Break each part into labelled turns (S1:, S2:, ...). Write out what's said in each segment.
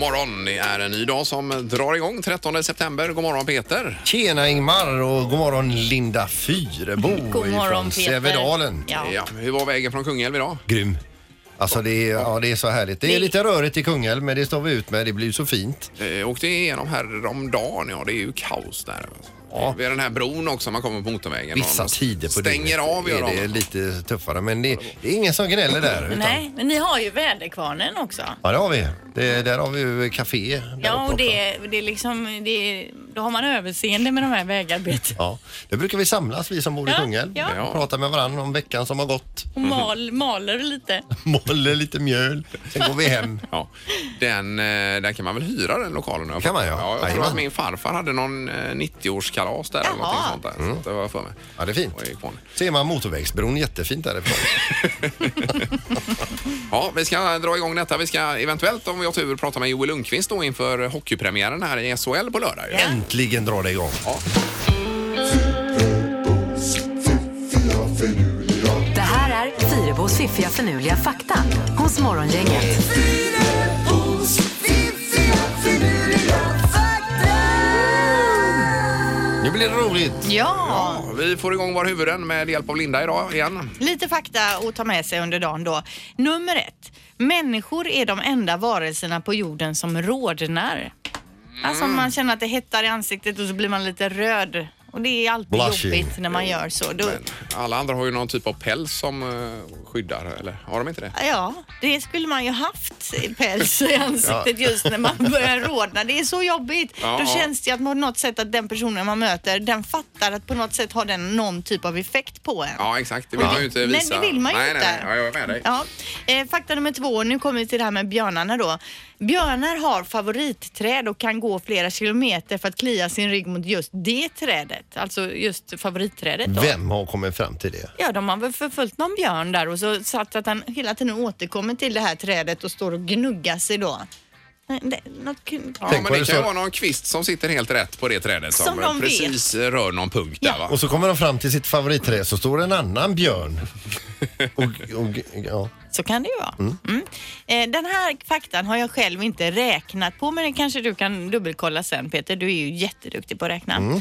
S1: morgon. Det är en ny dag som drar igång 13 september. God morgon Peter.
S2: Tjena Ingmar och god morgon Linda Fyrebo
S3: God morgon
S2: ifrån
S3: Peter.
S2: Sävedalen.
S3: Ja.
S1: Ja, hur var vägen från Kungälv idag?
S2: Grym. Alltså det är, ja, det är så härligt. Det är
S3: Det-
S2: lite rörigt i Kungälv men det står vi ut med. Det blir ju så fint.
S1: Eh, åkte igenom här om dagen. Ja, det är ju kaos där. Eh,
S2: Ja.
S1: Vid den här bron också, man kommer på motorvägen.
S2: Vissa
S1: Och
S2: tider på
S1: Stänger
S2: dygnet
S1: av gör
S2: är det
S1: de.
S2: lite tuffare men det, det är ingen som gnäller där. Utan,
S3: Nej, men ni har ju väderkvarnen också.
S2: Ja det har vi. Det, där har vi ju café. där uppe
S3: Ja,
S2: också.
S3: och det, det är liksom, det är, då har man överseende med de här vägarbetena.
S2: Ja, där brukar vi samlas vi som bor i
S3: Ja,
S2: Kungälv.
S3: ja.
S2: och Prata med varandra om veckan som har gått.
S3: Och mal, maler lite.
S2: Måler lite mjöl. Sen går vi hem.
S1: Ja, den, eh, där kan man väl hyra den lokalen? nu?
S2: Kan man, ja.
S1: ja jag tror
S2: Jajamän.
S1: att min farfar hade någon eh, 90-årskalas där eller
S3: Jaha.
S1: någonting sånt där. Så att det var för mig.
S2: Mm. Ja det är fint.
S1: Och gick på den.
S2: Ser man motorvägsbron jättefint därifrån.
S1: Ja, vi ska dra igång detta. Vi ska eventuellt, om vi har tur, prata med Joel Lundqvist då inför hockeypremiären här i SHL på lördag. ju.
S3: Ja.
S2: Äntligen drar det igång.
S4: Det här är Fyrabos fiffiga förnuliga fakta hos Morgongänget.
S2: Nu blir det roligt.
S3: Ja,
S1: Ja, Vi får igång våra huvuden med hjälp av Linda idag igen.
S3: lite fakta att ta med sig under dagen då. Nummer ett. Människor är de enda varelserna på jorden som rodnar. Alltså man känner att det hettar i ansiktet och så blir man lite röd. Och det är alltid
S2: Blushing.
S3: jobbigt när man gör så. Då,
S1: Men alla andra har ju någon typ av päls som eh, skyddar, eller har de inte det?
S3: Ja, det skulle man ju haft i päls i ansiktet just när man börjar rodna. Det är så jobbigt.
S1: Ja,
S3: Då
S1: ja.
S3: känns det ju att på något sätt att den personen man möter, den fattar att på något sätt har den någon typ av effekt på en.
S1: Ja, exakt. Det vill man ju inte visa.
S3: Nej, det vill man ju
S1: nej,
S3: inte.
S1: Nej, nej, jag är med dig.
S3: Ja. Eh, fakta nummer två, nu kommer vi till det här med björnarna då. Björnar har favoritträd och kan gå flera kilometer för att klia sin rygg mot just det trädet. Alltså just favoritträdet då.
S2: Vem har kommit fram till det?
S3: Ja, de har väl förföljt någon björn där och så satt att han hela tiden återkommer till det här trädet och står och gnuggar sig då. Nej, det- Något, kun-
S1: Ja, men
S2: Tänk vad
S1: det
S2: det
S1: kan ju
S2: så-
S1: vara någon kvist som sitter helt rätt på det trädet som,
S3: Som de
S1: precis rör någon punkt där va?
S2: Och så kommer de fram till sitt favoritträd så står det en annan björn. Och, och, ja.
S3: så kan det ju vara. Mm. Eh, den här faktan har jag själv inte räknat på men det kanske du kan dubbelkolla sen Peter. Du är ju jätteduktig på att räkna.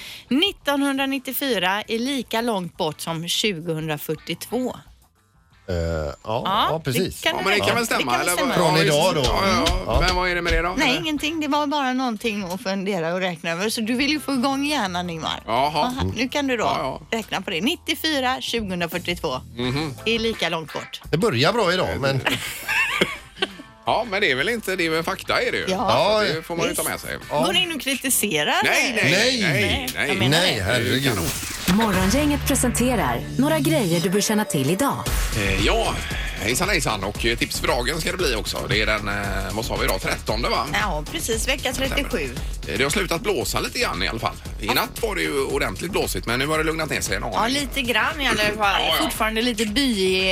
S3: 1994 är lika långt bort som 2042.
S2: Eh, ja, ja,
S3: det
S2: precis.
S3: kan
S1: Ja, men
S3: du
S1: det
S3: räkna.
S1: kan väl stämma?
S3: väl
S1: eller?
S3: stämma.
S2: Från
S1: Ja, just-
S2: idag då.
S1: Ja, ja.
S2: Ja.
S1: Men vad är det med det då?
S3: Nej,
S1: Eller?
S3: ingenting. Det var bara någonting att fundera och räkna över. Så du vill ju få igång hjärnan, Ingmar.
S1: Jaha.
S3: Aha, nu kan du då
S1: Ja, Mhm.
S3: räkna på det. 94, 2042. Det är lika långt bort.
S2: Det börjar bra idag men
S1: Ja, men det är väl inte, det är väl fakta är det ju.
S3: Ja.
S1: Så
S2: Ja,
S1: det får man ju ta med sig.
S3: Går ni in och kritiserar?
S1: Nej, nej, nej,
S2: Nej.
S1: nej.
S3: jag menar
S2: nej herregud.
S4: Morgongänget presenterar några grejer du bör känna till idag.
S1: Eh, Ja, hejsan hejsan och eh, tips för dagen ska det bli också. Det är den, eh, vad sa vi idag, 13 va?
S3: Ja, precis. Vecka 37.
S1: Eh, Det har slutat blåsa lite grann i alla fall. I natt var det ju ordentligt blåsigt men nu har det lugnat ner sig en aning.
S3: Ja, lite grann i alla fall.
S1: Ja, ja.
S3: Fortfarande lite by,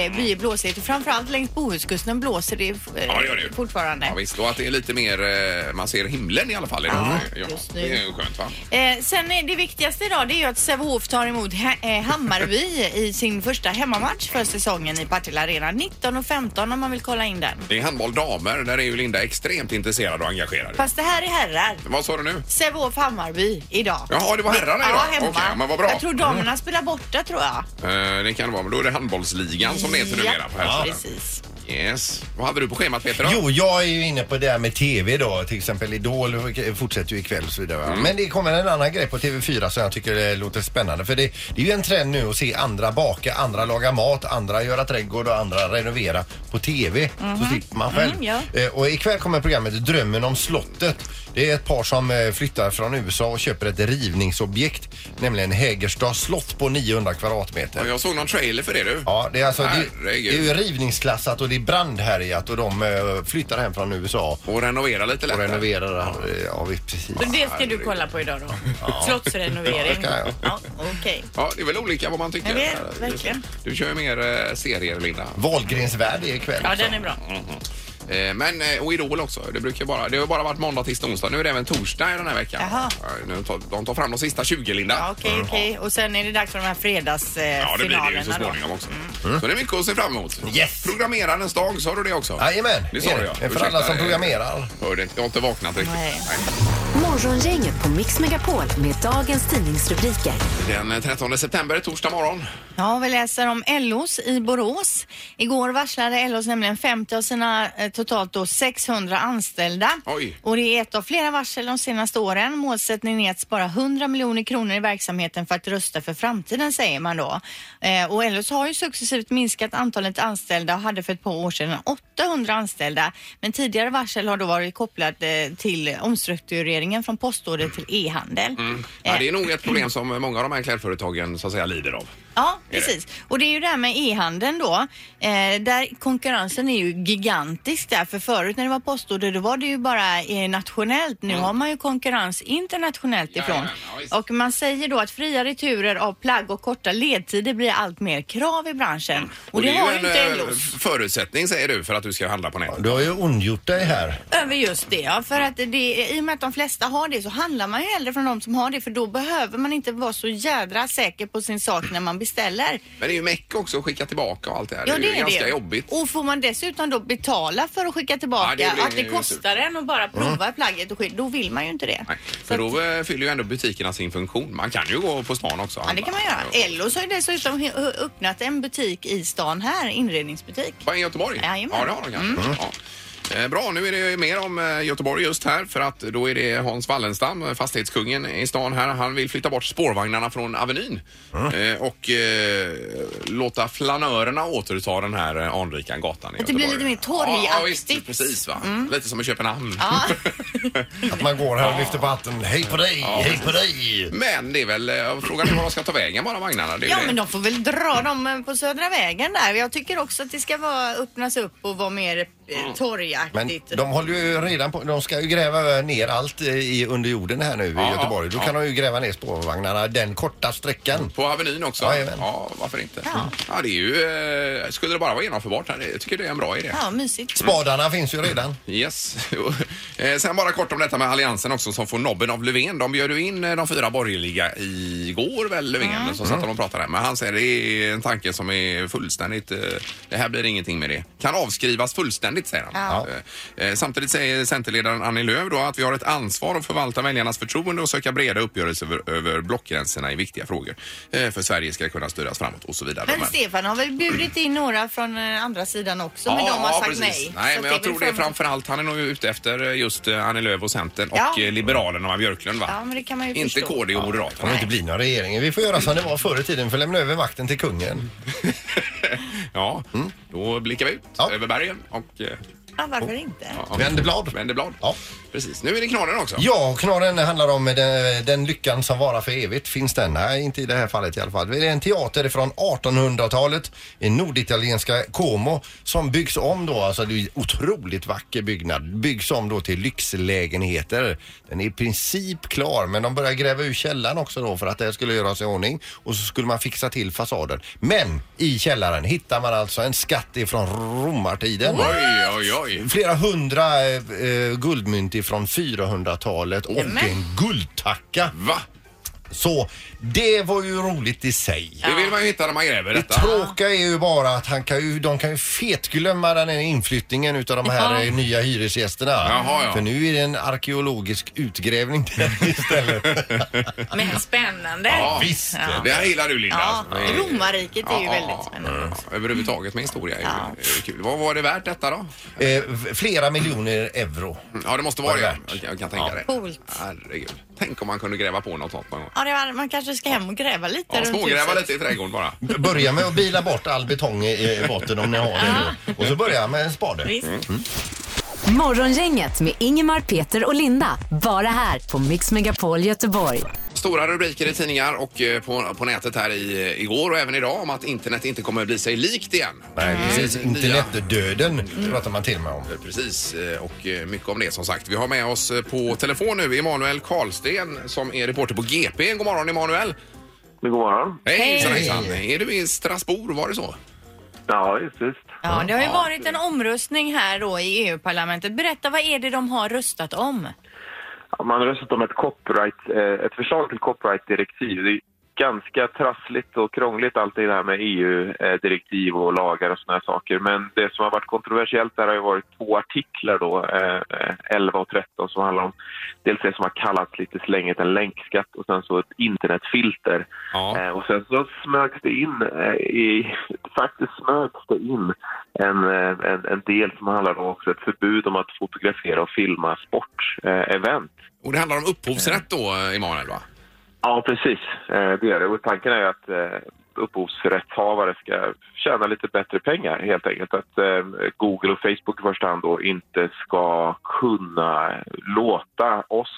S3: byblåsigt. Och Framförallt längs Bohuskusten blåser det, eh,
S1: Ja, det gör det ju.
S3: fortfarande.
S1: Ja, visst, och att det är lite mer, eh, man ser himlen i alla fall idag. Ja,
S3: just nu.
S1: det är ju skönt va?
S3: Eh, sen är det viktigaste idag det är ju att Sävehof tar emot ha- eh, Hammarby i sin första hemmamatch för säsongen i Partille Arena. 19.15 om man vill kolla in den.
S1: Det är handboll damer, där är ju Linda extremt intresserad och engagerad.
S3: Fast det här är herrar.
S1: Vad sa du nu?
S3: Sävehof Hammarby idag.
S1: Jaha, det var herrarna idag?
S3: Ja, hemma.
S1: Okej, ja, men vad bra. Mm.
S3: Jag tror damerna spelar borta tror jag.
S1: Eh, det kan det vara, men då är det handbollsligan som det heter numera på
S3: ja,
S1: här sidan.
S3: precis.
S1: Yes. Vad hade du på schemat Peter? Då?
S2: Jo, jag är ju inne på det här med TV då. Till exempel Idol fortsätter ju ikväll och så vidare. va?
S3: Mm.
S2: Men det kommer en annan grej på TV4 som jag tycker det låter spännande. För det, det är ju en trend nu att se andra baka, andra laga mat, andra göra trädgård och andra renovera på TV. Så slipper man själv.
S3: Mhm, ja.
S2: Eh, Och ikväll kommer programmet Drömmen om slottet. Det är ett par som eh, flyttar från USA och köper ett rivningsobjekt, nämligen Hägerstads slott på 900 kvadratmeter.
S1: Ja, Jag såg någon trailer för det du.
S2: Ja, det är alltså det, det
S1: Herregud.
S2: är ju rivningsklassat och det är brandhärjat och de eh, flyttar hem från USA
S1: Och renovera lite
S2: och
S1: lättare.
S2: renoverar. eh, Ja, vi- precis.
S3: Så det ska du kolla på idag då? Slottsrenovering?
S2: Ja, det kan jag.
S3: Ja, okej.
S1: Ja, det är väl olika vad man tycker.
S3: Jag vet, verkligen.
S1: Du kör ju mer eh, serier, Linda.
S2: Wahlgrens värld är ikväll.
S3: Ja,
S2: också.
S3: den är bra.
S1: Mhm. Eh, Men, eh, och Idol också. Det, brukar bara, det har bara varit måndag, tisdag, onsdag. Nu är det även torsdag i den här veckan.
S3: Jaha.
S1: Ja, Nu tar, de tar fram de sista 20, Linda.
S3: Ja, Okej, okej. Och sen är det dags för de här eh, fredagsfinalerna.
S1: Mm. Ja, det blir det ju så småningom också.
S3: Mm.
S1: Så det är mycket att se fram emot.
S2: Mm. Yes.
S1: Programmerarens dag, sa du det också?
S2: Jajamän,
S1: Det sa du ja.
S2: Det är för
S1: Ursäkta,
S2: alla som
S1: eh,
S2: programmerar.
S1: Hörde inte, jag har inte vaknat riktigt.
S3: Nej.
S4: Morgongänget på Mix Megapol med dagens tidningsrubriker.
S1: Den eh, 13 september, torsdag morgon.
S3: Ja, vi läser om Ellos i Borås. Igår varslade Ellos nämligen 50 av sina eh, totalt då 600 anställda.
S1: Oj.
S3: Och det är ett av flera varsel de senaste åren. Målsättningen är att spara 100 miljoner kronor i verksamheten för att rusta för framtiden säger man då. Eh, och Ellos har ju successivt minskat antalet anställda och hade för ett par år sedan 800 anställda. Men tidigare varsel har då varit kopplat eh, till omstruktureringen från postorder till e-handel.
S1: Mm. Ja,
S3: Eh,
S1: det är nog ett problem som många av de här klädföretagen så att säga, lider av.
S3: Ja,
S1: Är det?
S3: precis. Och det är ju det här med e-handeln då. Eh, där konkurrensen är ju gigantisk där. För förut när det var postorder då var det ju bara eh, nationellt. Nu har man ju konkurrens internationellt ifrån.
S1: Jajamän, Mm. ja, visst.
S3: och man säger då att fria returer av plagg och korta ledtider blir allt mer krav i branschen. Och, det,
S1: Mm. är
S3: har ju inte
S1: en eh,
S3: LOs.
S1: förutsättning, säger du, för att du ska handla på nätet.
S2: Du har ju ondgjort dig här.
S3: Över just det, ja.
S1: Mm.
S3: För att det, i och med att de flesta har det så handlar man ju hellre från de som har det för då behöver man inte vara så jädra säker på sin sak när man beställer.
S1: Men det är ju meck också att skicka tillbaka och allt det här.
S3: Ja,
S1: det, är ju ganska jobbigt.
S3: Och får man dessutom då betala för att skicka tillbaka,
S1: Ja, det blir
S3: att det
S1: ju Mm.
S3: kostar en att bara prova plagget och skicka, då vill man ju inte det.
S1: Nej,
S3: Så
S1: för
S3: att,
S1: då eh, fyller ju ändå butikerna sin funktion. Man kan ju gå på stan också. och
S3: ja, det kan man
S1: handla.
S3: göra. Ellos har ju dessutom he- ö- öppnat en butik i stan här, inredningsbutik.
S1: Bara i Göteborg?
S3: Jajamän. Mm.
S1: Ja, det har de kanske. Ja. Eh, Bra, nu är det ju mer om eh, Göteborg just här för att då är det Hans Wallenstam, eh, fastighetskungen i stan här. Han vill flytta bort spårvagnarna från Avenyn eh, och eh, låta flanörerna återta den här eh, anrika gatan i
S3: Att det blir
S1: Göteborg.
S3: lite mer torgaktigt. Mm.
S1: Ja, ja, visst, precis va. Lite som i Köpenhamn.
S3: Ja,
S2: Att man går här och lyfter på hatten. Hej på dig, hej på dig.
S1: Men det är väl, eh, frågan är var de ska ta vägen bara vagnarna. Det är ju
S3: ja,
S1: det.
S3: men de får väl dra dem eh, på Södra vägen där. Jag tycker också att det ska vara, öppnas upp och vara mer
S1: Mm.
S3: eh,
S2: Men
S3: torgaktigt.
S2: de håller ju redan på, de ska ju gräva ner allt eh, i under jorden här nu
S1: Ja,
S2: i Göteborg. Då
S1: ja.
S2: kan de ju gräva ner spårvagnarna den korta sträckan.
S1: På Avenyn också?
S2: Jajamän.
S1: Ja, varför inte?
S3: Ja.
S1: Ja, det är ju, eh, skulle det bara vara genomförbart här, jag tycker det är en bra idé.
S3: Ja, mysigt.
S2: Spadarna finns ju redan.
S1: Yes. Eh, Sen bara kort om detta med Alliansen också som får nobben av Löfven. De bjöd ju in eh, de fyra borgerliga igår väl, Löfven,
S3: Mm.
S1: som satt de och pratade. Men han säger det är en tanke som är fullständigt, eh, det här blir ingenting med det. Kan avskrivas fullständigt säger han.
S3: Ja.
S1: Eh, eh, Samtidigt säger Centerledaren Annie Lööf då att vi har ett ansvar att förvalta väljarnas förtroende och söka breda uppgörelser över, över blockgränserna i viktiga frågor. Eh, För Sverige ska kunna styras framåt och så vidare.
S3: Men
S1: Men-
S3: Stefan har väl bjudit in några från eh, andra sidan också, men de har sagt nej. Så
S1: Nej, men
S3: det
S1: jag
S3: väl
S1: tror det är
S3: fram-
S1: framförallt han är nog ute efter eh, just eh, Annie Lööf och Centern
S3: Ja.
S1: och eh, Liberalerna och Björklund va?
S3: Ja, men det kan man ju
S1: Inte
S3: förstå.
S1: KD och
S2: Det kommer
S1: Moderaterna.
S2: inte bli någon regering. Vi får göra som det var förr i tiden för att lämna över makten till kungen.
S1: Ja, då blickar vi ut
S2: Mm. Ja.
S1: över bergen och eh,
S3: Ja, Ah, varför inte?
S1: ja.
S2: Vänder blad.
S1: vänder blad.
S2: Ja.
S1: Precis. Nu är det knorren också.
S2: Ja, och knorren handlar om den, den lyckan som varar för evigt. Finns den? Nej, inte i det här fallet i alla fall. Det är en teater från 1800-talet i norditalienska Como som byggs om då. Alltså det är en otroligt vacker byggnad. Byggs om då till lyxlägenheter. Den är i princip klar men de börjar gräva ur källaren också då för att det här skulle göras i ordning och så skulle man fixa till fasaden. Men i källaren hittar man alltså en skatt ifrån romartiden.
S1: Oj, oj, oj.
S2: Flera hundra eh, eh, guldmynt ifrån 400-talet och
S3: Jamen.
S2: en guldtacka.
S1: Va?
S2: Så det var ju roligt i sig.
S1: Det vill man ju hitta när man gräver
S2: Det
S1: detta.
S2: tråkiga är ju bara att han kan ju, de kan ju fetglömma den här inflyttningen utav de här eh, nya hyresgästerna.
S1: Jaha, ja.
S2: För nu är det en arkeologisk utgrävning där istället.
S3: Men spännande.
S1: Ja,
S2: Visst.
S1: Det här gillar du Linda.
S3: Ja,
S1: alltså. Det är-
S3: Romarriket är ju
S1: Ja, Mm.
S3: väldigt
S1: ja,
S3: spännande.
S1: ja. Överhuvudtaget med historia är ju
S3: Ja.
S1: är ju kul. Vad var det värt detta då?
S2: eh, flera miljoner euro.
S1: Ja, det måste vara
S2: Var
S1: det.
S2: det
S1: Jag, jag kan tänka det.
S3: Coolt.
S1: Herregud. Tänk om man kunde gräva på något sånt någon gång.
S3: Ja, det var, man kanske ska hem och gräva lite
S1: Ja,
S3: runt
S1: smågräva
S3: huset.
S1: lite i trädgården bara.
S2: B- Börja med att bila bort all betong i i botten om ni har det. nu. Och så börja med en spade.
S3: Visst.
S1: Mm.
S4: Morgongänget med Ingemar, Peter och Linda. Bara här på Mix Megapol Göteborg.
S1: Stora rubriker i tidningar och eh, på, på nätet här i, eh, igår och även idag om att internet inte kommer att bli sig likt igen.
S2: Nej, precis.
S1: Mm.
S2: Internetdöden pratar man till och med om.
S1: Precis, eh, och eh, mycket om det som sagt. Vi har med oss eh, på telefon nu Emanuel Karlsten som är reporter på GP. God morgon Emanuel!
S5: Men God morgon.
S1: Hej!
S3: Hej.
S1: hejsan, hejsan. Är du i Strasbourg, var det så?
S5: Ja, just visst.
S3: Ja, det har ju varit en omröstning här då i EU-parlamentet. Berätta, vad är det de har röstat om?
S5: Ja, man har röstat om ett, copyright, eh, ett förslag till copyright-direktiv. Det är ganska trassligt och krångligt allt det här med EU-direktiv och lagar och såna här saker. Men det som har varit kontroversiellt där har ju varit två artiklar då, eh, eh, 11 och 13, som handlar om dels det som har kallats lite slänget en länkskatt och sen så ett internetfilter.
S1: Ja.
S5: Eh, Och sen så smögs det in, eh, i, faktiskt smögs det in en, eh, en, en del som handlar om också ett förbud om att fotografera och filma eh, sportevent.
S1: Och det handlar om upphovsrätt då, eh, Emanuel va?
S5: Ja, precis. Eh, Det är det. Och tanken är ju att eh, upphovsrättshavare ska tjäna lite bättre pengar helt enkelt. Att eh, Google och Facebook i första hand då inte ska kunna låta oss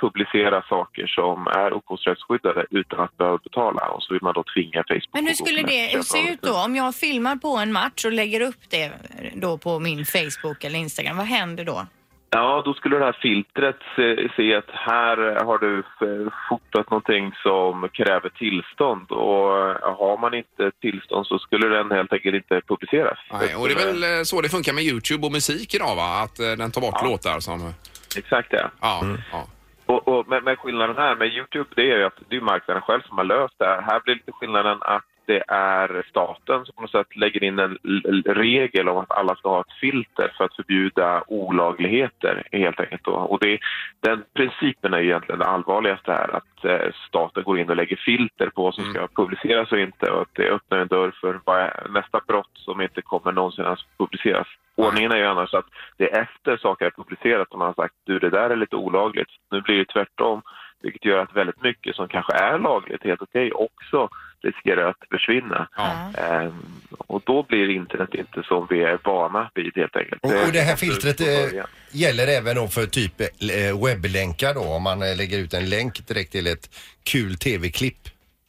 S5: publicera saker som är upphovsrättsskyddade utan att behöva betala. Och så vill man då tvinga Facebook
S3: Men hur
S5: och
S3: skulle
S5: Google att
S3: det
S5: köpa
S3: se ut då? Om jag filmar på en match och lägger upp det då på min Facebook eller Instagram, vad händer då?
S5: Ja, då skulle det här filtret se, se att här har du f- fotat någonting som kräver tillstånd och eh, har man inte tillstånd så skulle den helt enkelt inte publiceras.
S1: Nej, och det är väl eh, så det funkar med Youtube och musik idag va? Att eh, den tar bort låtar som...
S5: Exakt det.
S1: Ja, ja.
S5: Och, och, men, men skillnaden här med Youtube det är ju att det är marknaden själv som har löst det här. Här blir lite skillnaden att det är staten som på något sätt lägger in en l- regel om att alla ska ha ett filter för att förbjuda olagligheter helt enkelt. Då. Och det, den principen är ju egentligen det allvarligaste här, att eh, staten går in och lägger filter på vad som ska publiceras och inte och att det öppnar en dörr för vad, nästa brott som inte kommer någonsin att publiceras. Ordningen är ju annars att det är efter saker är publicerat som man har sagt du det där är lite olagligt. Nu blir det tvärtom, vilket gör att väldigt mycket som kanske är lagligt, helt okej, också riskerar att försvinna.
S1: Ja.
S5: Ehm, och då blir internet inte som vi är vana vid helt enkelt.
S2: Och, och det här
S5: är-
S2: filtret
S5: från
S2: eh,
S5: början.
S2: gäller även då för typ eh, webblänkar då om man eh, lägger ut en länk direkt till ett kul tv-klipp.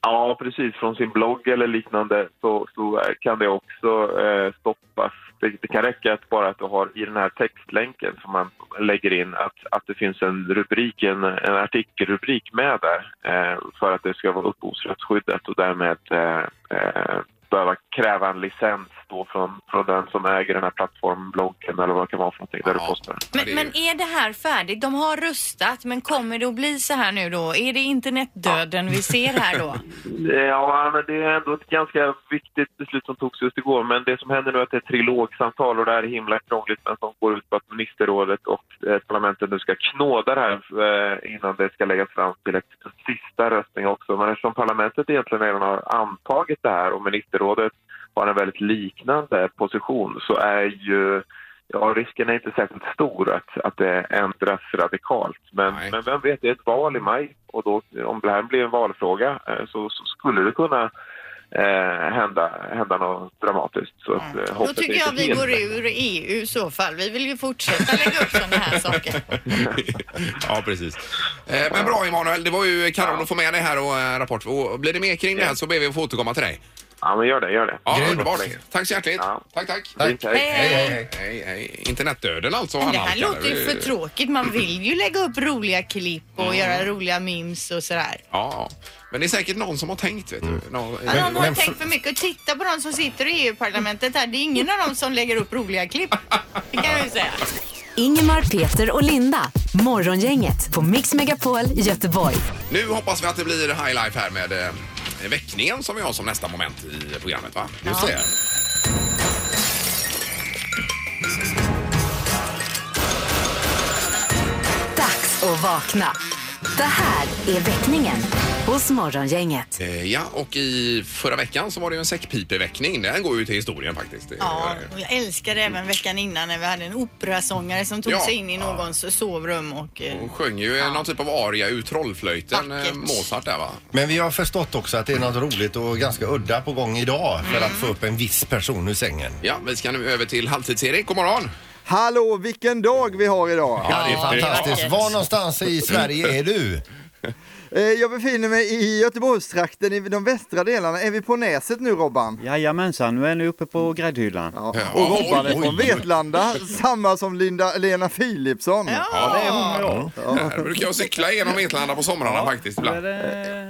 S5: Ja, precis. Från sin blogg eller liknande så, så eh, kan det också eh, stoppas. Det, det kan räcka att bara att du har i den här textlänken som man lägger in att, att det finns en rubrik, en, en artikelrubrik med där eh, för att det ska vara upphovsrättsskyddat och därmed eh, eh, behöva kräva en licens då från, från den som äger den här plattformen, bloggen eller vad det kan vara för någonting där
S1: Ja.
S5: du postar.
S1: Ja,
S3: Men,
S1: det är-
S3: men är det här färdigt? De har röstat, men kommer det att bli så här nu då? Är det internetdöden vi ser här då?
S5: Eh, Ja, men det är ändå ett ganska viktigt beslut som togs just igår. Men det som händer nu är att det är trilogsamtal och det här är himla krångligt men som går ut på att ministerrådet och eh, parlamentet nu ska knåda det här eh, innan det ska läggas fram till ett en sista röstning också. Men eftersom parlamentet egentligen redan har antagit det här och ministerrådet har en väldigt liknande position så är ju Ja, risken är inte särskilt stor att, att det ändras radikalt. Men,
S1: Nej.
S5: men vem vet, det är ett val i maj och då, om det här blir en valfråga eh, så, så skulle det kunna eh, hända, hända något dramatiskt. Så att, eh,
S3: Mm. Då
S5: hoppet
S3: tycker
S5: är
S3: jag
S5: inte
S3: vi
S5: helt-
S3: går ur EU i så fall. Vi vill ju fortsätta lägga upp sådana här saker.
S1: ja, precis. Eh, Men bra Emanuel, det var ju kanon att få med dig här och eh, rapport. Och blir det mer kring det här så ber vi att få återkomma till dig.
S5: Ja, men gör det, gör det.
S1: Ja,
S2: Grymt.
S1: underbart. Tack så hjärtligt.
S5: Ja.
S1: Tack, tack.
S2: Tack.
S5: Fint, hej.
S3: Hej, hej.
S1: Hej, hej. Internetdöden alltså.
S3: Men Eh, det
S1: Hanna
S3: här
S1: kallar
S3: låter
S1: vi-
S3: ju för tråkigt. Man vill ju lägga upp roliga klipp och göra roliga memes och sådär.
S1: Ja, ja. men det är säkert någon som har tänkt. Vet du. eh, Någon,
S3: Ja, de har
S2: men
S3: tänkt för mycket. Och titta på de som sitter i EU-parlamentet här. Det är ingen av dem som lägger upp roliga klipp. Det kan jag ju säga.
S4: Ingemar, Peter och Linda. Morgongänget på Mix Megapol Göteborg.
S1: Nu hoppas vi att det blir High Life här med eh, väckningen som vi har som nästa moment i programmet. Va?
S2: Just det.
S4: Dags att vakna. Det här är väckningen hos Morgongänget.
S1: Eh, Ja, och i förra veckan så var det ju en säckpipeväckning. Den går ju till historien faktiskt. Det-
S3: Ja, och jag älskade även veckan innan när vi hade en operasångare som tog
S1: Ja.
S3: sig in i någons sovrum och... eh,
S1: Hon sjöng ju någon typ av aria ur Trollflöjten,
S3: Vackert.
S1: eh, Mozart där va?
S2: Men vi har förstått också att det är något roligt och ganska udda på gång idag för att få upp en viss person ur sängen.
S1: Ja, vi ska nu över till Halvtids-Erik. God morgon!
S6: Hallå, vilken dag vi har idag!
S2: Ja, det är fantastiskt.
S3: vackert.
S2: Var någonstans i Sverige är du?
S6: Eh, Jag befinner mig i Göteborgstrakten, i de västra delarna. Är vi på Näset nu Robban?
S7: Jajamensan, nu är ni uppe på gräddhyllan.
S6: Ja.
S1: oj,
S6: Och Robban
S1: oj,
S6: är från
S1: oj.
S6: Vetlanda, samma som Linda, Lena Philipsson.
S1: Ja, det är hon Här brukar jag cykla genom Vetlanda på somrarna faktiskt
S7: Där,
S1: ibland.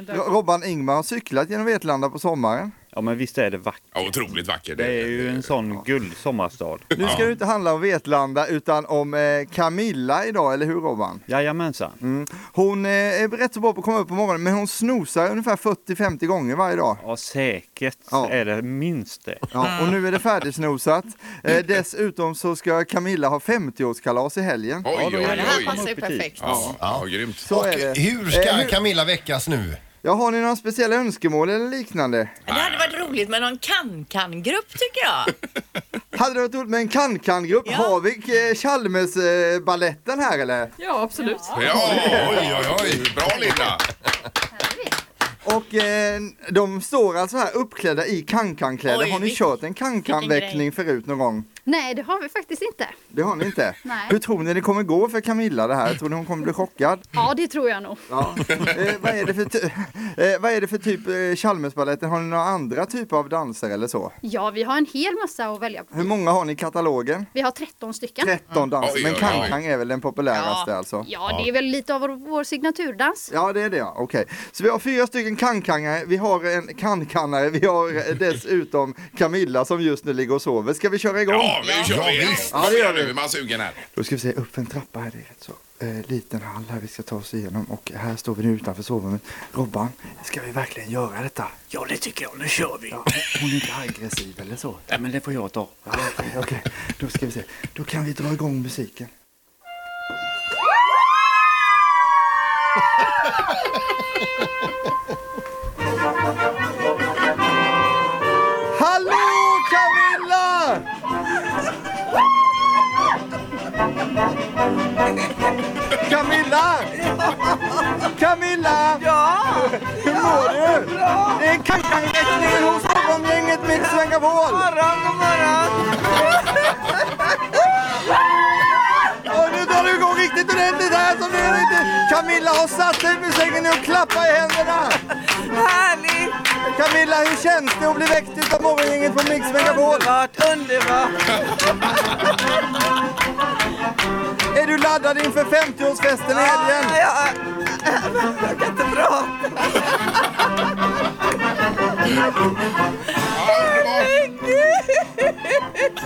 S7: eh, där.
S6: Robban Ingmar har cyklat genom Vetlanda på sommaren.
S7: Ja, men visst är det vackert.
S1: Ja, otroligt vacker.
S7: Det är ju en sån guld sommarstad.
S6: Nu ska det inte handla om Vetlanda utan om eh, Camilla idag, eller hur Robban?
S7: Jajamensan.
S6: Mm. Hon eh, är rätt så bra på att komma upp på morgonen men hon snosar ungefär 40-50 gånger varje dag.
S7: Ja, säkert
S6: Ja.
S7: är det minst det.
S6: Ja, och nu är det färdigsnosat. Eh, dessutom så ska Camilla ha 50-årskalas i helgen.
S1: Oj, oj,
S3: Ja, det här
S1: oj.
S3: passar ju
S7: Upp i tid.
S3: perfekt.
S1: Ja, ja, grymt.
S6: Så
S2: Och
S6: är det.
S2: hur ska
S6: Eh, hur-
S2: Camilla väckas nu?
S6: Ja, har ni några speciella önskemål eller liknande?
S3: Det hade varit roligt med någon kan-kan-grupp tycker jag.
S6: Hade det varit roligt med en kan-kan-grupp?
S3: Ja.
S6: Har vi eh, Chalmers-baletten här eller?
S8: Ja, absolut.
S1: Ja, oj, oj, oj. Bra Linda.
S6: Och eh, de står alltså här uppklädda i
S3: Oj,
S6: kankankläder. Har ni
S3: vilk-
S6: kört en
S3: vilken
S6: kankanväckning förut någon gång?
S9: Nej, det har vi faktiskt inte.
S6: Det har ni inte?
S9: Nej.
S6: Hur tror ni det kommer gå för Camilla det här? Tror ni hon kommer bli chockad?
S9: Ja, det tror jag nog.
S6: Ja. eh, vad, är det för ty- eh, vad är det för typ eh, Chalmersbaletten? Har ni några andra typer av danser eller så?
S9: Ja, vi har en hel massa att välja på.
S6: Hur många har ni i katalogen?
S9: Vi har 13 stycken.
S6: 13 danser,
S1: Mm. Oj,
S6: men
S1: oj, oj.
S6: kankang är väl den populäraste alltså?
S9: Ja, det är väl lite av vår, vår signaturdans.
S6: Ja, det är det ja. Okej. Så vi har fyra stycken kankangare, vi har en kankannare, vi har eh, dessutom Camilla som just nu ligger och sover. Ska vi köra igång?
S1: Ja, nu kör vi.
S6: Ja, det gör vi.
S1: Nu är man sugen här.
S6: Då ska vi se, upp för en trappa här, det är rätt så eh, liten hall här vi ska ta oss igenom och här står vi nu utanför sovrummet. Robban, ska vi verkligen göra detta?
S7: Ja, det tycker jag. Nu kör vi.
S6: Ja, hon är inte aggressiv eller så.
S7: Ja, men det får jag ta.
S6: Ja, Okej, okej. då ska vi se. Då kan vi dra igång musiken. Hallå Camilla! Camilla! Camilla! Ja! Hur mår du? Bra! Det är Kankan-växlingen hos Stockholmsgänget Mix Megapol! Och nu drar du igång riktigt ordentligt här som du är riktigt. Camilla har satt sig på sängen nu och klappar i händerna.
S10: Härligt!
S6: Camilla, hur känns det att bli väckt utav morgongänget på Mix Megapol?
S10: Underbart, underbart!
S6: Är du laddad inför 50-årsfesten i helgen?
S10: Ja, ja. Jag kan inte prata.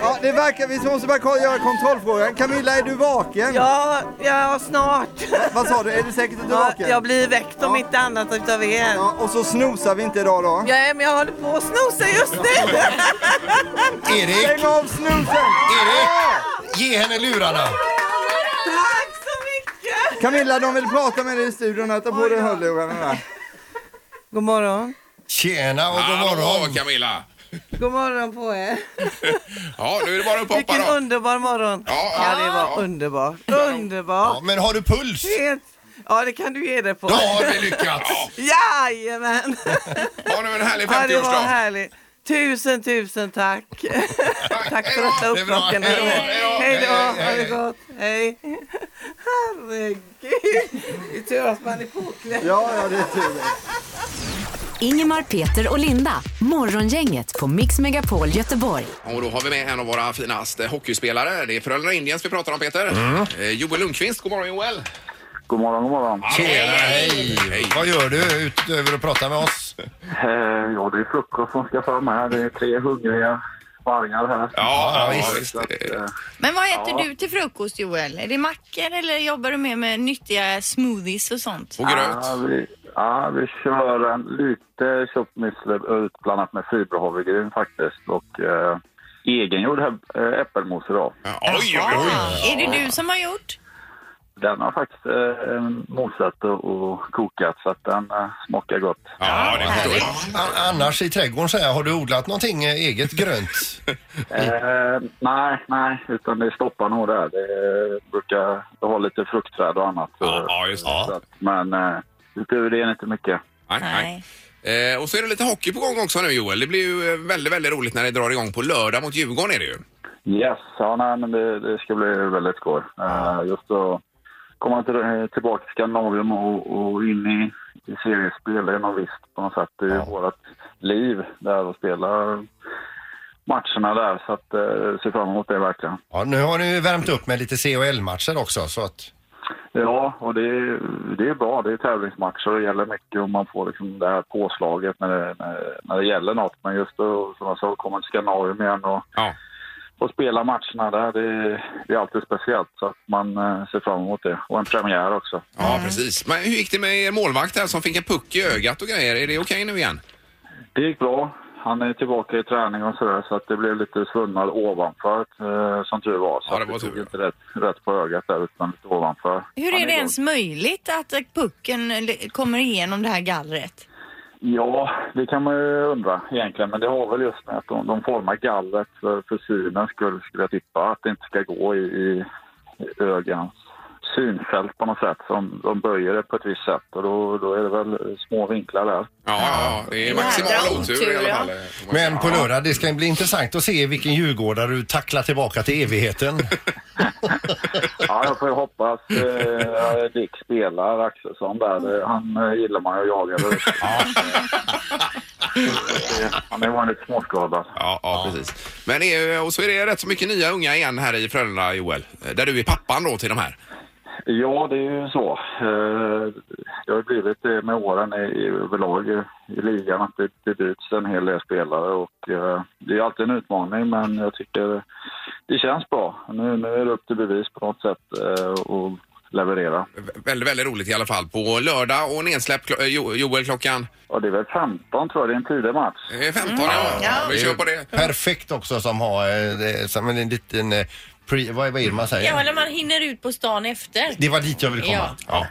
S6: Ja, det verkar, vi måste bara kolla- göra kontrollfrågan. Camilla, är du vaken?
S10: Ja, ja, snart.
S6: Vad sa du, är du säkert att du är
S10: Ja,
S6: vaken?
S10: jag blir väckt om
S6: Ja.
S10: inte annat utav er.
S6: Ja, och så snosar vi inte idag då.
S10: Ja, men jag håller på att snosa just nu.
S2: Erik,
S6: Stäng av snusen!
S2: Erik! Ge henne lurarna!
S10: Tack så mycket!
S6: Camilla, de vill prata med dig i studion. här. Ta på dig hörlurarna där.
S10: God morgon.
S2: Tjena och god
S1: Hallå,
S2: morgon!
S1: Camilla.
S10: God morgon på er.
S1: Ja, nu är det bara att poppa
S10: Vilken
S1: då.
S10: underbar morgon.
S1: Ja,
S10: Ja, det var
S1: ja.
S10: underbart.
S2: Ja,
S10: Underbart.
S2: men har du puls?
S10: Helt. Ja, det kan du ge dig på.
S2: Då har vi lyckats!
S10: Jajamän!
S1: Ha nu en härlig
S10: Ja, det var
S1: 50-årsdag.
S10: härligt. Tusen, tusen tack. tack för detta
S2: Det är bra.
S10: upplocken.
S2: Hej då,
S1: hej då.
S10: Hej då,
S1: Hej,
S10: ha det gott. Hej. Herregud. Det är tur att man är påklädd.
S6: Ja, ja, det är tur det.
S4: Ingemar, Peter och Linda. Morgongänget på Mix Megapol Göteborg.
S1: Och då har vi med en av våra finaste hockeyspelare. Det är Frölunda Indiens vi pratar om, Peter. Eh, Joel Lundqvist, god morgon Joel.
S5: God morgon, god morgon.
S2: Tjena, hej!
S1: Hej.
S2: Vad gör du utöver att prata med oss?
S5: Eh, ja, det är frukost som ska fram här. Det är tre hungriga vargar här.
S1: Ja, ja,
S2: ja,
S1: visst.
S5: Så att, eh,
S3: Men vad äter du till frukost Joel? Är det mackor eller jobbar du mer med nyttiga smoothies och sånt?
S1: Och
S5: Ja,
S1: gröt.
S5: vi, ja, vi kör en lite köttmüsli utblandat med fiberhavregryn faktiskt och eh, egengjord hä- eh, äppelmos idag.
S1: Oj, oj, oj.
S3: Är det du som har gjort?
S5: Den har faktiskt eh, mosat och, och kokat så att den eh, smakar gott.
S1: Ja, det förstår jag.
S2: An- Annars i trädgården så här, har du odlat någonting eh, eget grönt?
S5: Eh, nej, nej, utan det stoppar nog där. Det brukar jag har lite fruktträd och annat.
S1: Ja, ja, just det.
S5: Så att, men eh, utöver det är det inte mycket.
S1: Nej, nej.
S3: Nej.
S1: Eh, och så är det lite hockey på gång också nu Joel. Det blir ju eh, väldigt, väldigt roligt när det drar igång på lördag mot Djurgården är det ju.
S5: Yes, ja, nej, men det, det ska bli väldigt skoj. Eh, just att komma till, eh, tillbaka till Skandinavien och, och in i, i seriespel, det är nog visst på något sätt. Det är ju vårt liv där och spela matcherna där, så att eh, ser fram emot det verkligen.
S2: Ja, nu har ni ju värmt upp med lite CHL-matcher också så att...
S5: Ja, Eh, och det är, det är bra. Det är tävlingsmatcher och det gäller mycket och man får liksom det här påslaget när det, när, när det gäller något. Men just då, som jag sa, komma till Skandinavien igen och,
S1: Ja.
S5: och spela matcherna där, det, det är alltid speciellt. Så att man eh, ser fram emot det. Och en premiär också.
S1: Ja, precis. Men hur gick det med er målvakt här som fick en puck i ögat och grejer? Är det okej nu igen?
S5: Det gick bra. Han är tillbaka i träning och sådär så att det blev lite svullnad ovanför eh, som tur var. Så
S1: Ja, det
S5: att
S1: var tur,
S5: tog
S1: ja.
S5: inte rätt, rätt på ögat där utan lite ovanför.
S3: Hur
S5: Han
S3: är det
S5: igång.
S3: ens möjligt att eh, pucken eh, kommer igenom det här gallret?
S5: Ja, det kan man ju undra egentligen. Men det har väl just med att de, de formar gallret för, för synens skull, skulle jag tippa. Att det inte ska gå i, i i ögans synfält på något sätt. Så de, de böjer det på ett visst sätt och då, då är det väl små vinklar där.
S1: Ja, ja, det är maximal
S3: Jädra
S1: otur
S3: otur,
S1: i alla
S3: ja.
S1: fall.
S2: Men på lördag, det ska bli intressant att se vilken djurgårdare du tacklar tillbaka till evigheten.
S5: Ja, jag får ju hoppas eh, Dick spelar Axelsson där. Eh, Han eh, gillar man ju att jaga. det vet du. Eh, Han är vanligt småskadad.
S1: Ja, ja, precis. Men det är, ju- och så är det rätt så mycket nya unga igen här i Frölunda, Joel. Där du är pappan då till de här.
S5: Ja, det är ju så. Eh, Det har ju blivit det med åren i, i överlag i, i ligan att det, det byts en hel del spelare och eh, det är alltid en utmaning men jag tycker det känns bra. Nu, nu är det upp till bevis på något sätt eh, och leverera.
S1: Vä- Väldigt, väldigt roligt i alla fall. På lördag och nedsläpp, klo- eh, Jo- Joel, klockan
S5: Och det är väl 15 tror jag, det är en tidig match.
S1: eh, 15. Ja. Vi kör på det.
S2: Perfekt också som har eh, det- som en liten... eh, Pre, vad, vad är det man säger?
S3: Ja, eller man hinner ut på stan efter.
S2: Det var dit jag ville komma. Ja.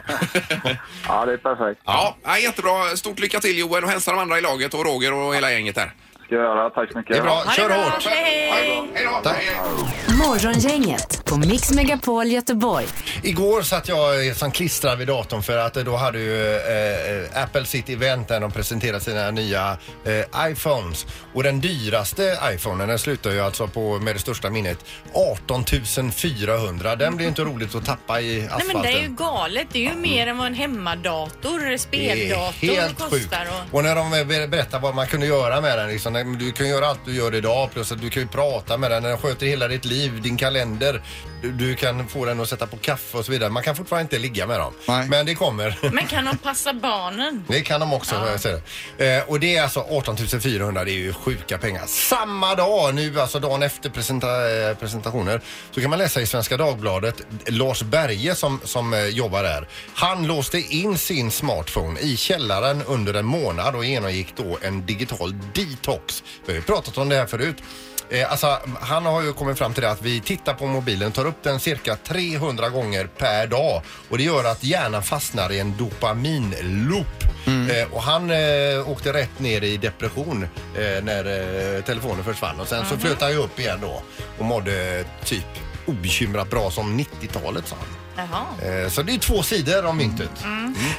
S5: Ja, det är perfekt.
S1: Ja, ja, jättebra. Stort lycka till Joel och hälsa de andra i laget och Roger och hela gänget där.
S5: Ska jag göra. Tack så mycket.
S2: Det är bra.
S3: Ha det
S2: Kör
S3: bra,
S2: hårt.
S3: hej, hej.
S1: Hej då!
S2: Tack.
S1: Hej.
S4: Morgongänget på Mix Megapol Göteborg.
S2: Igår satt jag som klistrad vid datorn för att då hade ju eh, Apple sitt event där de presenterade sina nya eh, iPhones. Och den dyraste iPhonen den slutar ju alltså på, med det största minnet, 18 400. Den blir ju inte roligt att tappa i
S3: Nej
S2: asfalten.
S3: men det är ju galet. Det är ju mer än vad en hemmadator,
S2: Det är
S3: speldator
S2: helt sjukt.
S3: kostar. Och...
S2: Och när de ber- berättar vad man kunde göra med den. Liksom, nej, men du kan göra allt du gör idag plus att du kan ju prata med den. Den sköter hela ditt liv, din kalender. Du, du kan få den att sätta på kaffe och så vidare. Man kan fortfarande inte ligga med dem.
S6: Nej.
S2: Men det kommer.
S3: Men kan de passa barnen?
S2: Det kan de också. jag säger det. Eh, och det är alltså 18 400, det är ju sjuka pengar. Samma dag, nu alltså dagen efter presenta, eh, presentationer, så kan man läsa i Svenska Dagbladet, Lars Berge som, som eh, jobbar där, han låste in sin smartphone i källaren under en månad och genomgick då en digital detox. Vi har ju pratat om det här förut. Eh, alltså, han har ju kommit fram till det att vi tittar på mobilen, tar upp den cirka 300 gånger per dag och det gör att hjärnan fastnar i en dopaminloop. Eh, och han eh, åkte rätt ner i depression eh, när eh, telefonen försvann och sen så flöt han ju upp igen då och mådde eh, typ obekymrat bra som 90-talet sa han.
S3: Jaha.
S2: Eh, så det är två sidor av myntet.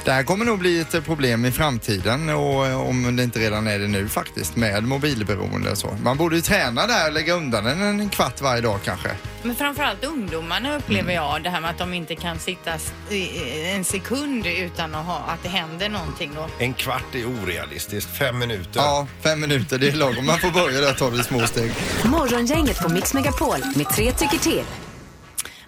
S6: Det här kommer nog bli ett problem i framtiden och eh, om det inte redan är det nu faktiskt med mobilberoende och så. Man borde ju träna där och lägga undan den en kvart varje dag kanske.
S3: Men framförallt ungdomarna upplever jag det här med att de inte kan sitta s- i- en sekund utan att, ha, att det händer någonting då.
S2: En kvart är orealistiskt, fem minuter.
S6: Ja, fem minuter det är lagom. Man får börja där och ta det i små steg.
S4: Morgongänget på Mix Megapol med tre tycker till.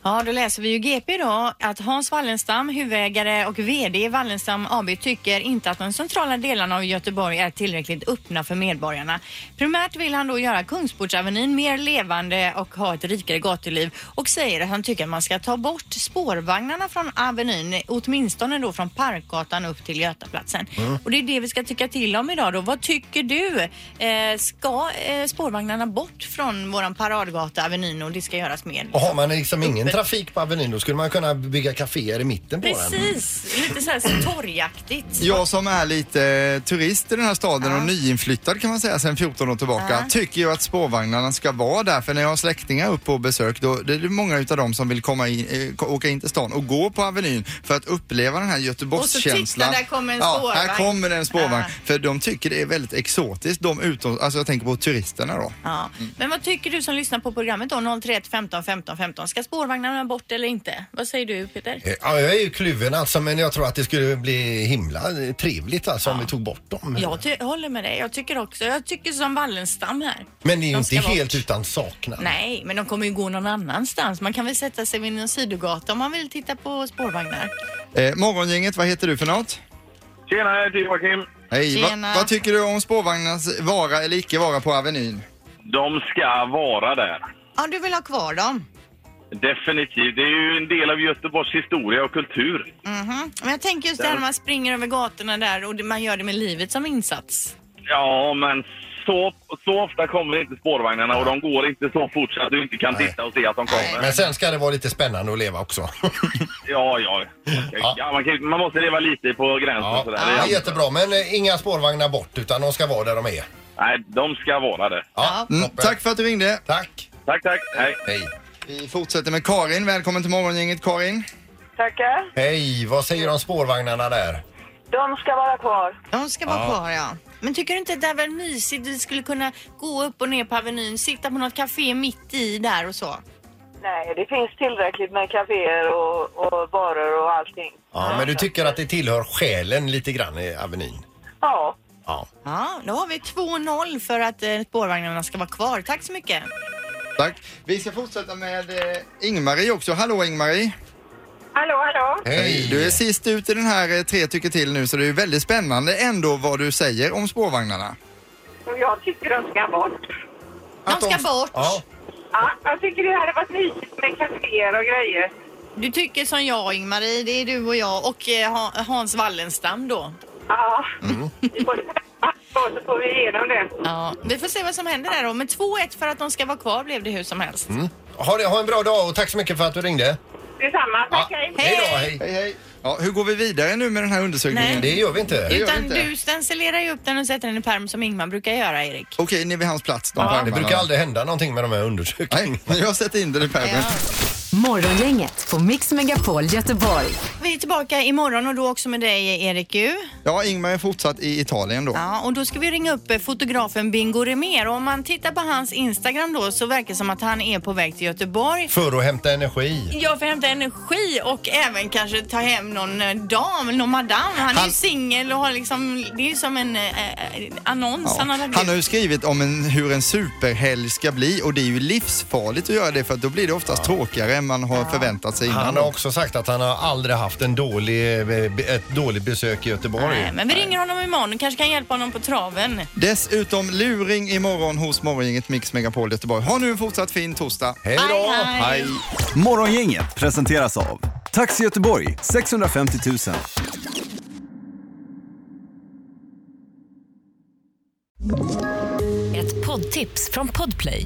S3: Ja, då läser vi ju GP då att Hans Wallenstam, huvudägare och VD i Wallenstam AB tycker inte att de centrala delarna av Göteborg är tillräckligt öppna för medborgarna. Primärt vill han då göra Kungsportsavenyn mer levande och ha ett rikare gatuliv och säger att han tycker att man ska ta bort spårvagnarna från Avenyn, åtminstone då från Parkgatan upp till Götaplatsen. Och det är det vi ska tycka till om idag då. Vad tycker du? Eh, ska eh, spårvagnarna bort från våran paradgata Avenyn och det ska göras mer?
S2: Och har man liksom ingen trafik på Avenyn då skulle man kunna bygga kaféer i mitten på den.
S3: Precis, lite så här torgaktigt.
S6: Jag som är lite eh, turist i den här staden och nyinflyttad kan man säga sedan 14 år tillbaka tycker ju att spårvagnarna ska vara där för när jag har släktingar upp på besök då det är det många utav dem som vill komma in, eh, ko- åka in till stan och gå på Avenyn för att uppleva den här Göteborgskänslan.
S3: Och så titta, där kommer en
S6: ja,
S3: spårvagn.
S6: här kommer det en spårvagn.
S3: Ja.
S6: För de tycker det är väldigt exotiskt, de utom, alltså jag tänker på turisterna då.
S3: Ja. Men vad tycker du som lyssnar på programmet då? 031 15 15 15. Ska spårvagn spårvagnarna bort eller inte? Vad säger du Peter?
S2: Eh, Ja, jag är ju kluven alltså, men jag tror att det skulle bli himla eh, trevligt alltså, om vi tog bort dem.
S3: Jag ty- håller med dig. Jag tycker också. Jag tycker som Wallenstam här.
S2: Men det är ju
S3: De
S2: inte
S3: ska
S2: helt
S3: bort.
S2: utan saknad.
S3: Nej, men de kommer ju gå någon annanstans. Man kan väl sätta sig vid en sidogata om man vill titta på spårvagnar.
S6: Eh, morgongänget, vad heter du för något?
S5: Tjena, jag heter Joakim.
S6: Hej, va,
S3: Tjena.
S6: vad tycker du om spårvagnarnas vara eller icke vara på Avenyn?
S5: De ska vara där.
S3: Ja, du vill ha kvar dem?
S5: Definitivt. Det är ju en del av Göteborgs historia och kultur.
S3: Mhm. Men jag tänker just det här när man springer över gatorna där och det- man gör det med livet som insats.
S5: Ja, men så, så ofta kommer inte spårvagnarna och de går inte så fort så att du inte kan
S2: Nej.
S5: titta och se att de kommer.
S2: Men sen ska det vara lite spännande att leva också.
S5: Ja, ja.
S2: Ja.
S5: ja man, kan, man måste leva lite på gränsen
S2: ja, det
S5: sådär.
S2: är
S5: Ja.
S2: jättebra, men eh, inga spårvagnar bort utan de ska vara där de är.
S5: Nej, de ska vara det.
S2: Ja,
S6: Mm,
S2: toppen.
S6: tack för att du ringde.
S2: Tack.
S5: Tack, tack. Hej.
S2: Hej.
S6: Vi fortsätter med Karin. Välkommen till morgongänget Karin.
S10: Tackar.
S2: Hej, vad säger de om spårvagnarna där?
S10: De ska vara kvar.
S3: De ska vara kvar, ja. Men tycker du inte att det är väl mysigt? Vi skulle kunna gå upp och ner på Avenyn, sitta på något café mitt i där och så.
S10: Nej, det finns tillräckligt med kaféer och, och barer och allting.
S2: Ja, men du tycker att det tillhör själen lite grann i Avenyn?
S10: Ja,
S2: Ja.
S3: Ja, då har vi 2-0 för att eh, spårvagnarna ska vara kvar. Tack så mycket.
S6: Tack. Vi ska fortsätta med eh, Ingmarie också. Hallå Ingmarie.
S10: Hallå, hallå!
S2: Hej.
S6: Du är sist ut i den här eh, Tre tycker till nu så det är ju väldigt spännande ändå vad du säger om spårvagnarna.
S10: Och jag tycker de ska bort.
S3: De ska bort.
S2: Ja.
S10: Ja, jag tycker det hade varit mysigt med kaféer och grejer.
S3: Du tycker som jag, Ingmarie. Det är du och jag och eh, Ha- Hans Wallenstam då.
S10: Ja,
S2: Mm.
S10: vi får träffas och så får vi igenom det.
S3: Ja, vi får se vad som händer där då. Men 2-1 för att de ska vara kvar blev det hur som helst.
S2: Ha, det, ha en bra dag och tack så mycket för att du ringde.
S10: Detsamma, tack
S2: Ja.
S10: hej!
S2: Hej då, hej.
S6: Hej hej. Ja, hur går vi vidare nu med den här undersökningen?
S2: Det gör vi inte.
S6: gör vi
S3: Utan
S6: inte.
S3: du stencilerar ju upp den och sätter den i pärm som Ingmar brukar göra, Erik.
S6: Okej, ni är vid hans plats. De
S2: Det brukar aldrig hända någonting med de här undersökningarna.
S6: Nej, jag har sett in den i pärmen.
S4: Morgongänget på Mix Megapol Göteborg.
S3: Vi är tillbaka imorgon och då också med dig, Erik U.
S6: Ja, Ingmar är fortsatt i Italien då.
S3: Ja, och då ska vi ringa upp eh, fotografen Bingo Remer. Och om man tittar på hans Instagram då så verkar det som att han är på väg till Göteborg.
S2: För att hämta energi.
S3: Jag får hämta energi och även kanske ta hem någon eh, dam, någon madam. Han, är
S6: Han-
S3: ju singel och har liksom, det är ju som en eh, eh, annons
S6: Ja.
S3: han har lagt
S6: Han har
S3: ut.
S6: ju skrivit om en, hur en superhelg ska bli och det är ju livsfarligt att göra det för att då blir det oftast tråkigare än man har förväntat sig innan.
S2: Han har också sagt att han har aldrig haft en dålig, eh, be- ett dåligt besök i Göteborg.
S3: Nej, men vi ringer honom imorgon och kanske kan hjälpa honom på traven.
S6: Dessutom luring imorgon hos Morgongänget Mix Megapol Göteborg. Ha nu en fortsatt fin torsdag.
S2: Hej då!
S3: Hej, hej.
S8: Morgongänget presenteras av Taxi Göteborg 650 000.
S11: Ett poddtips från Podplay.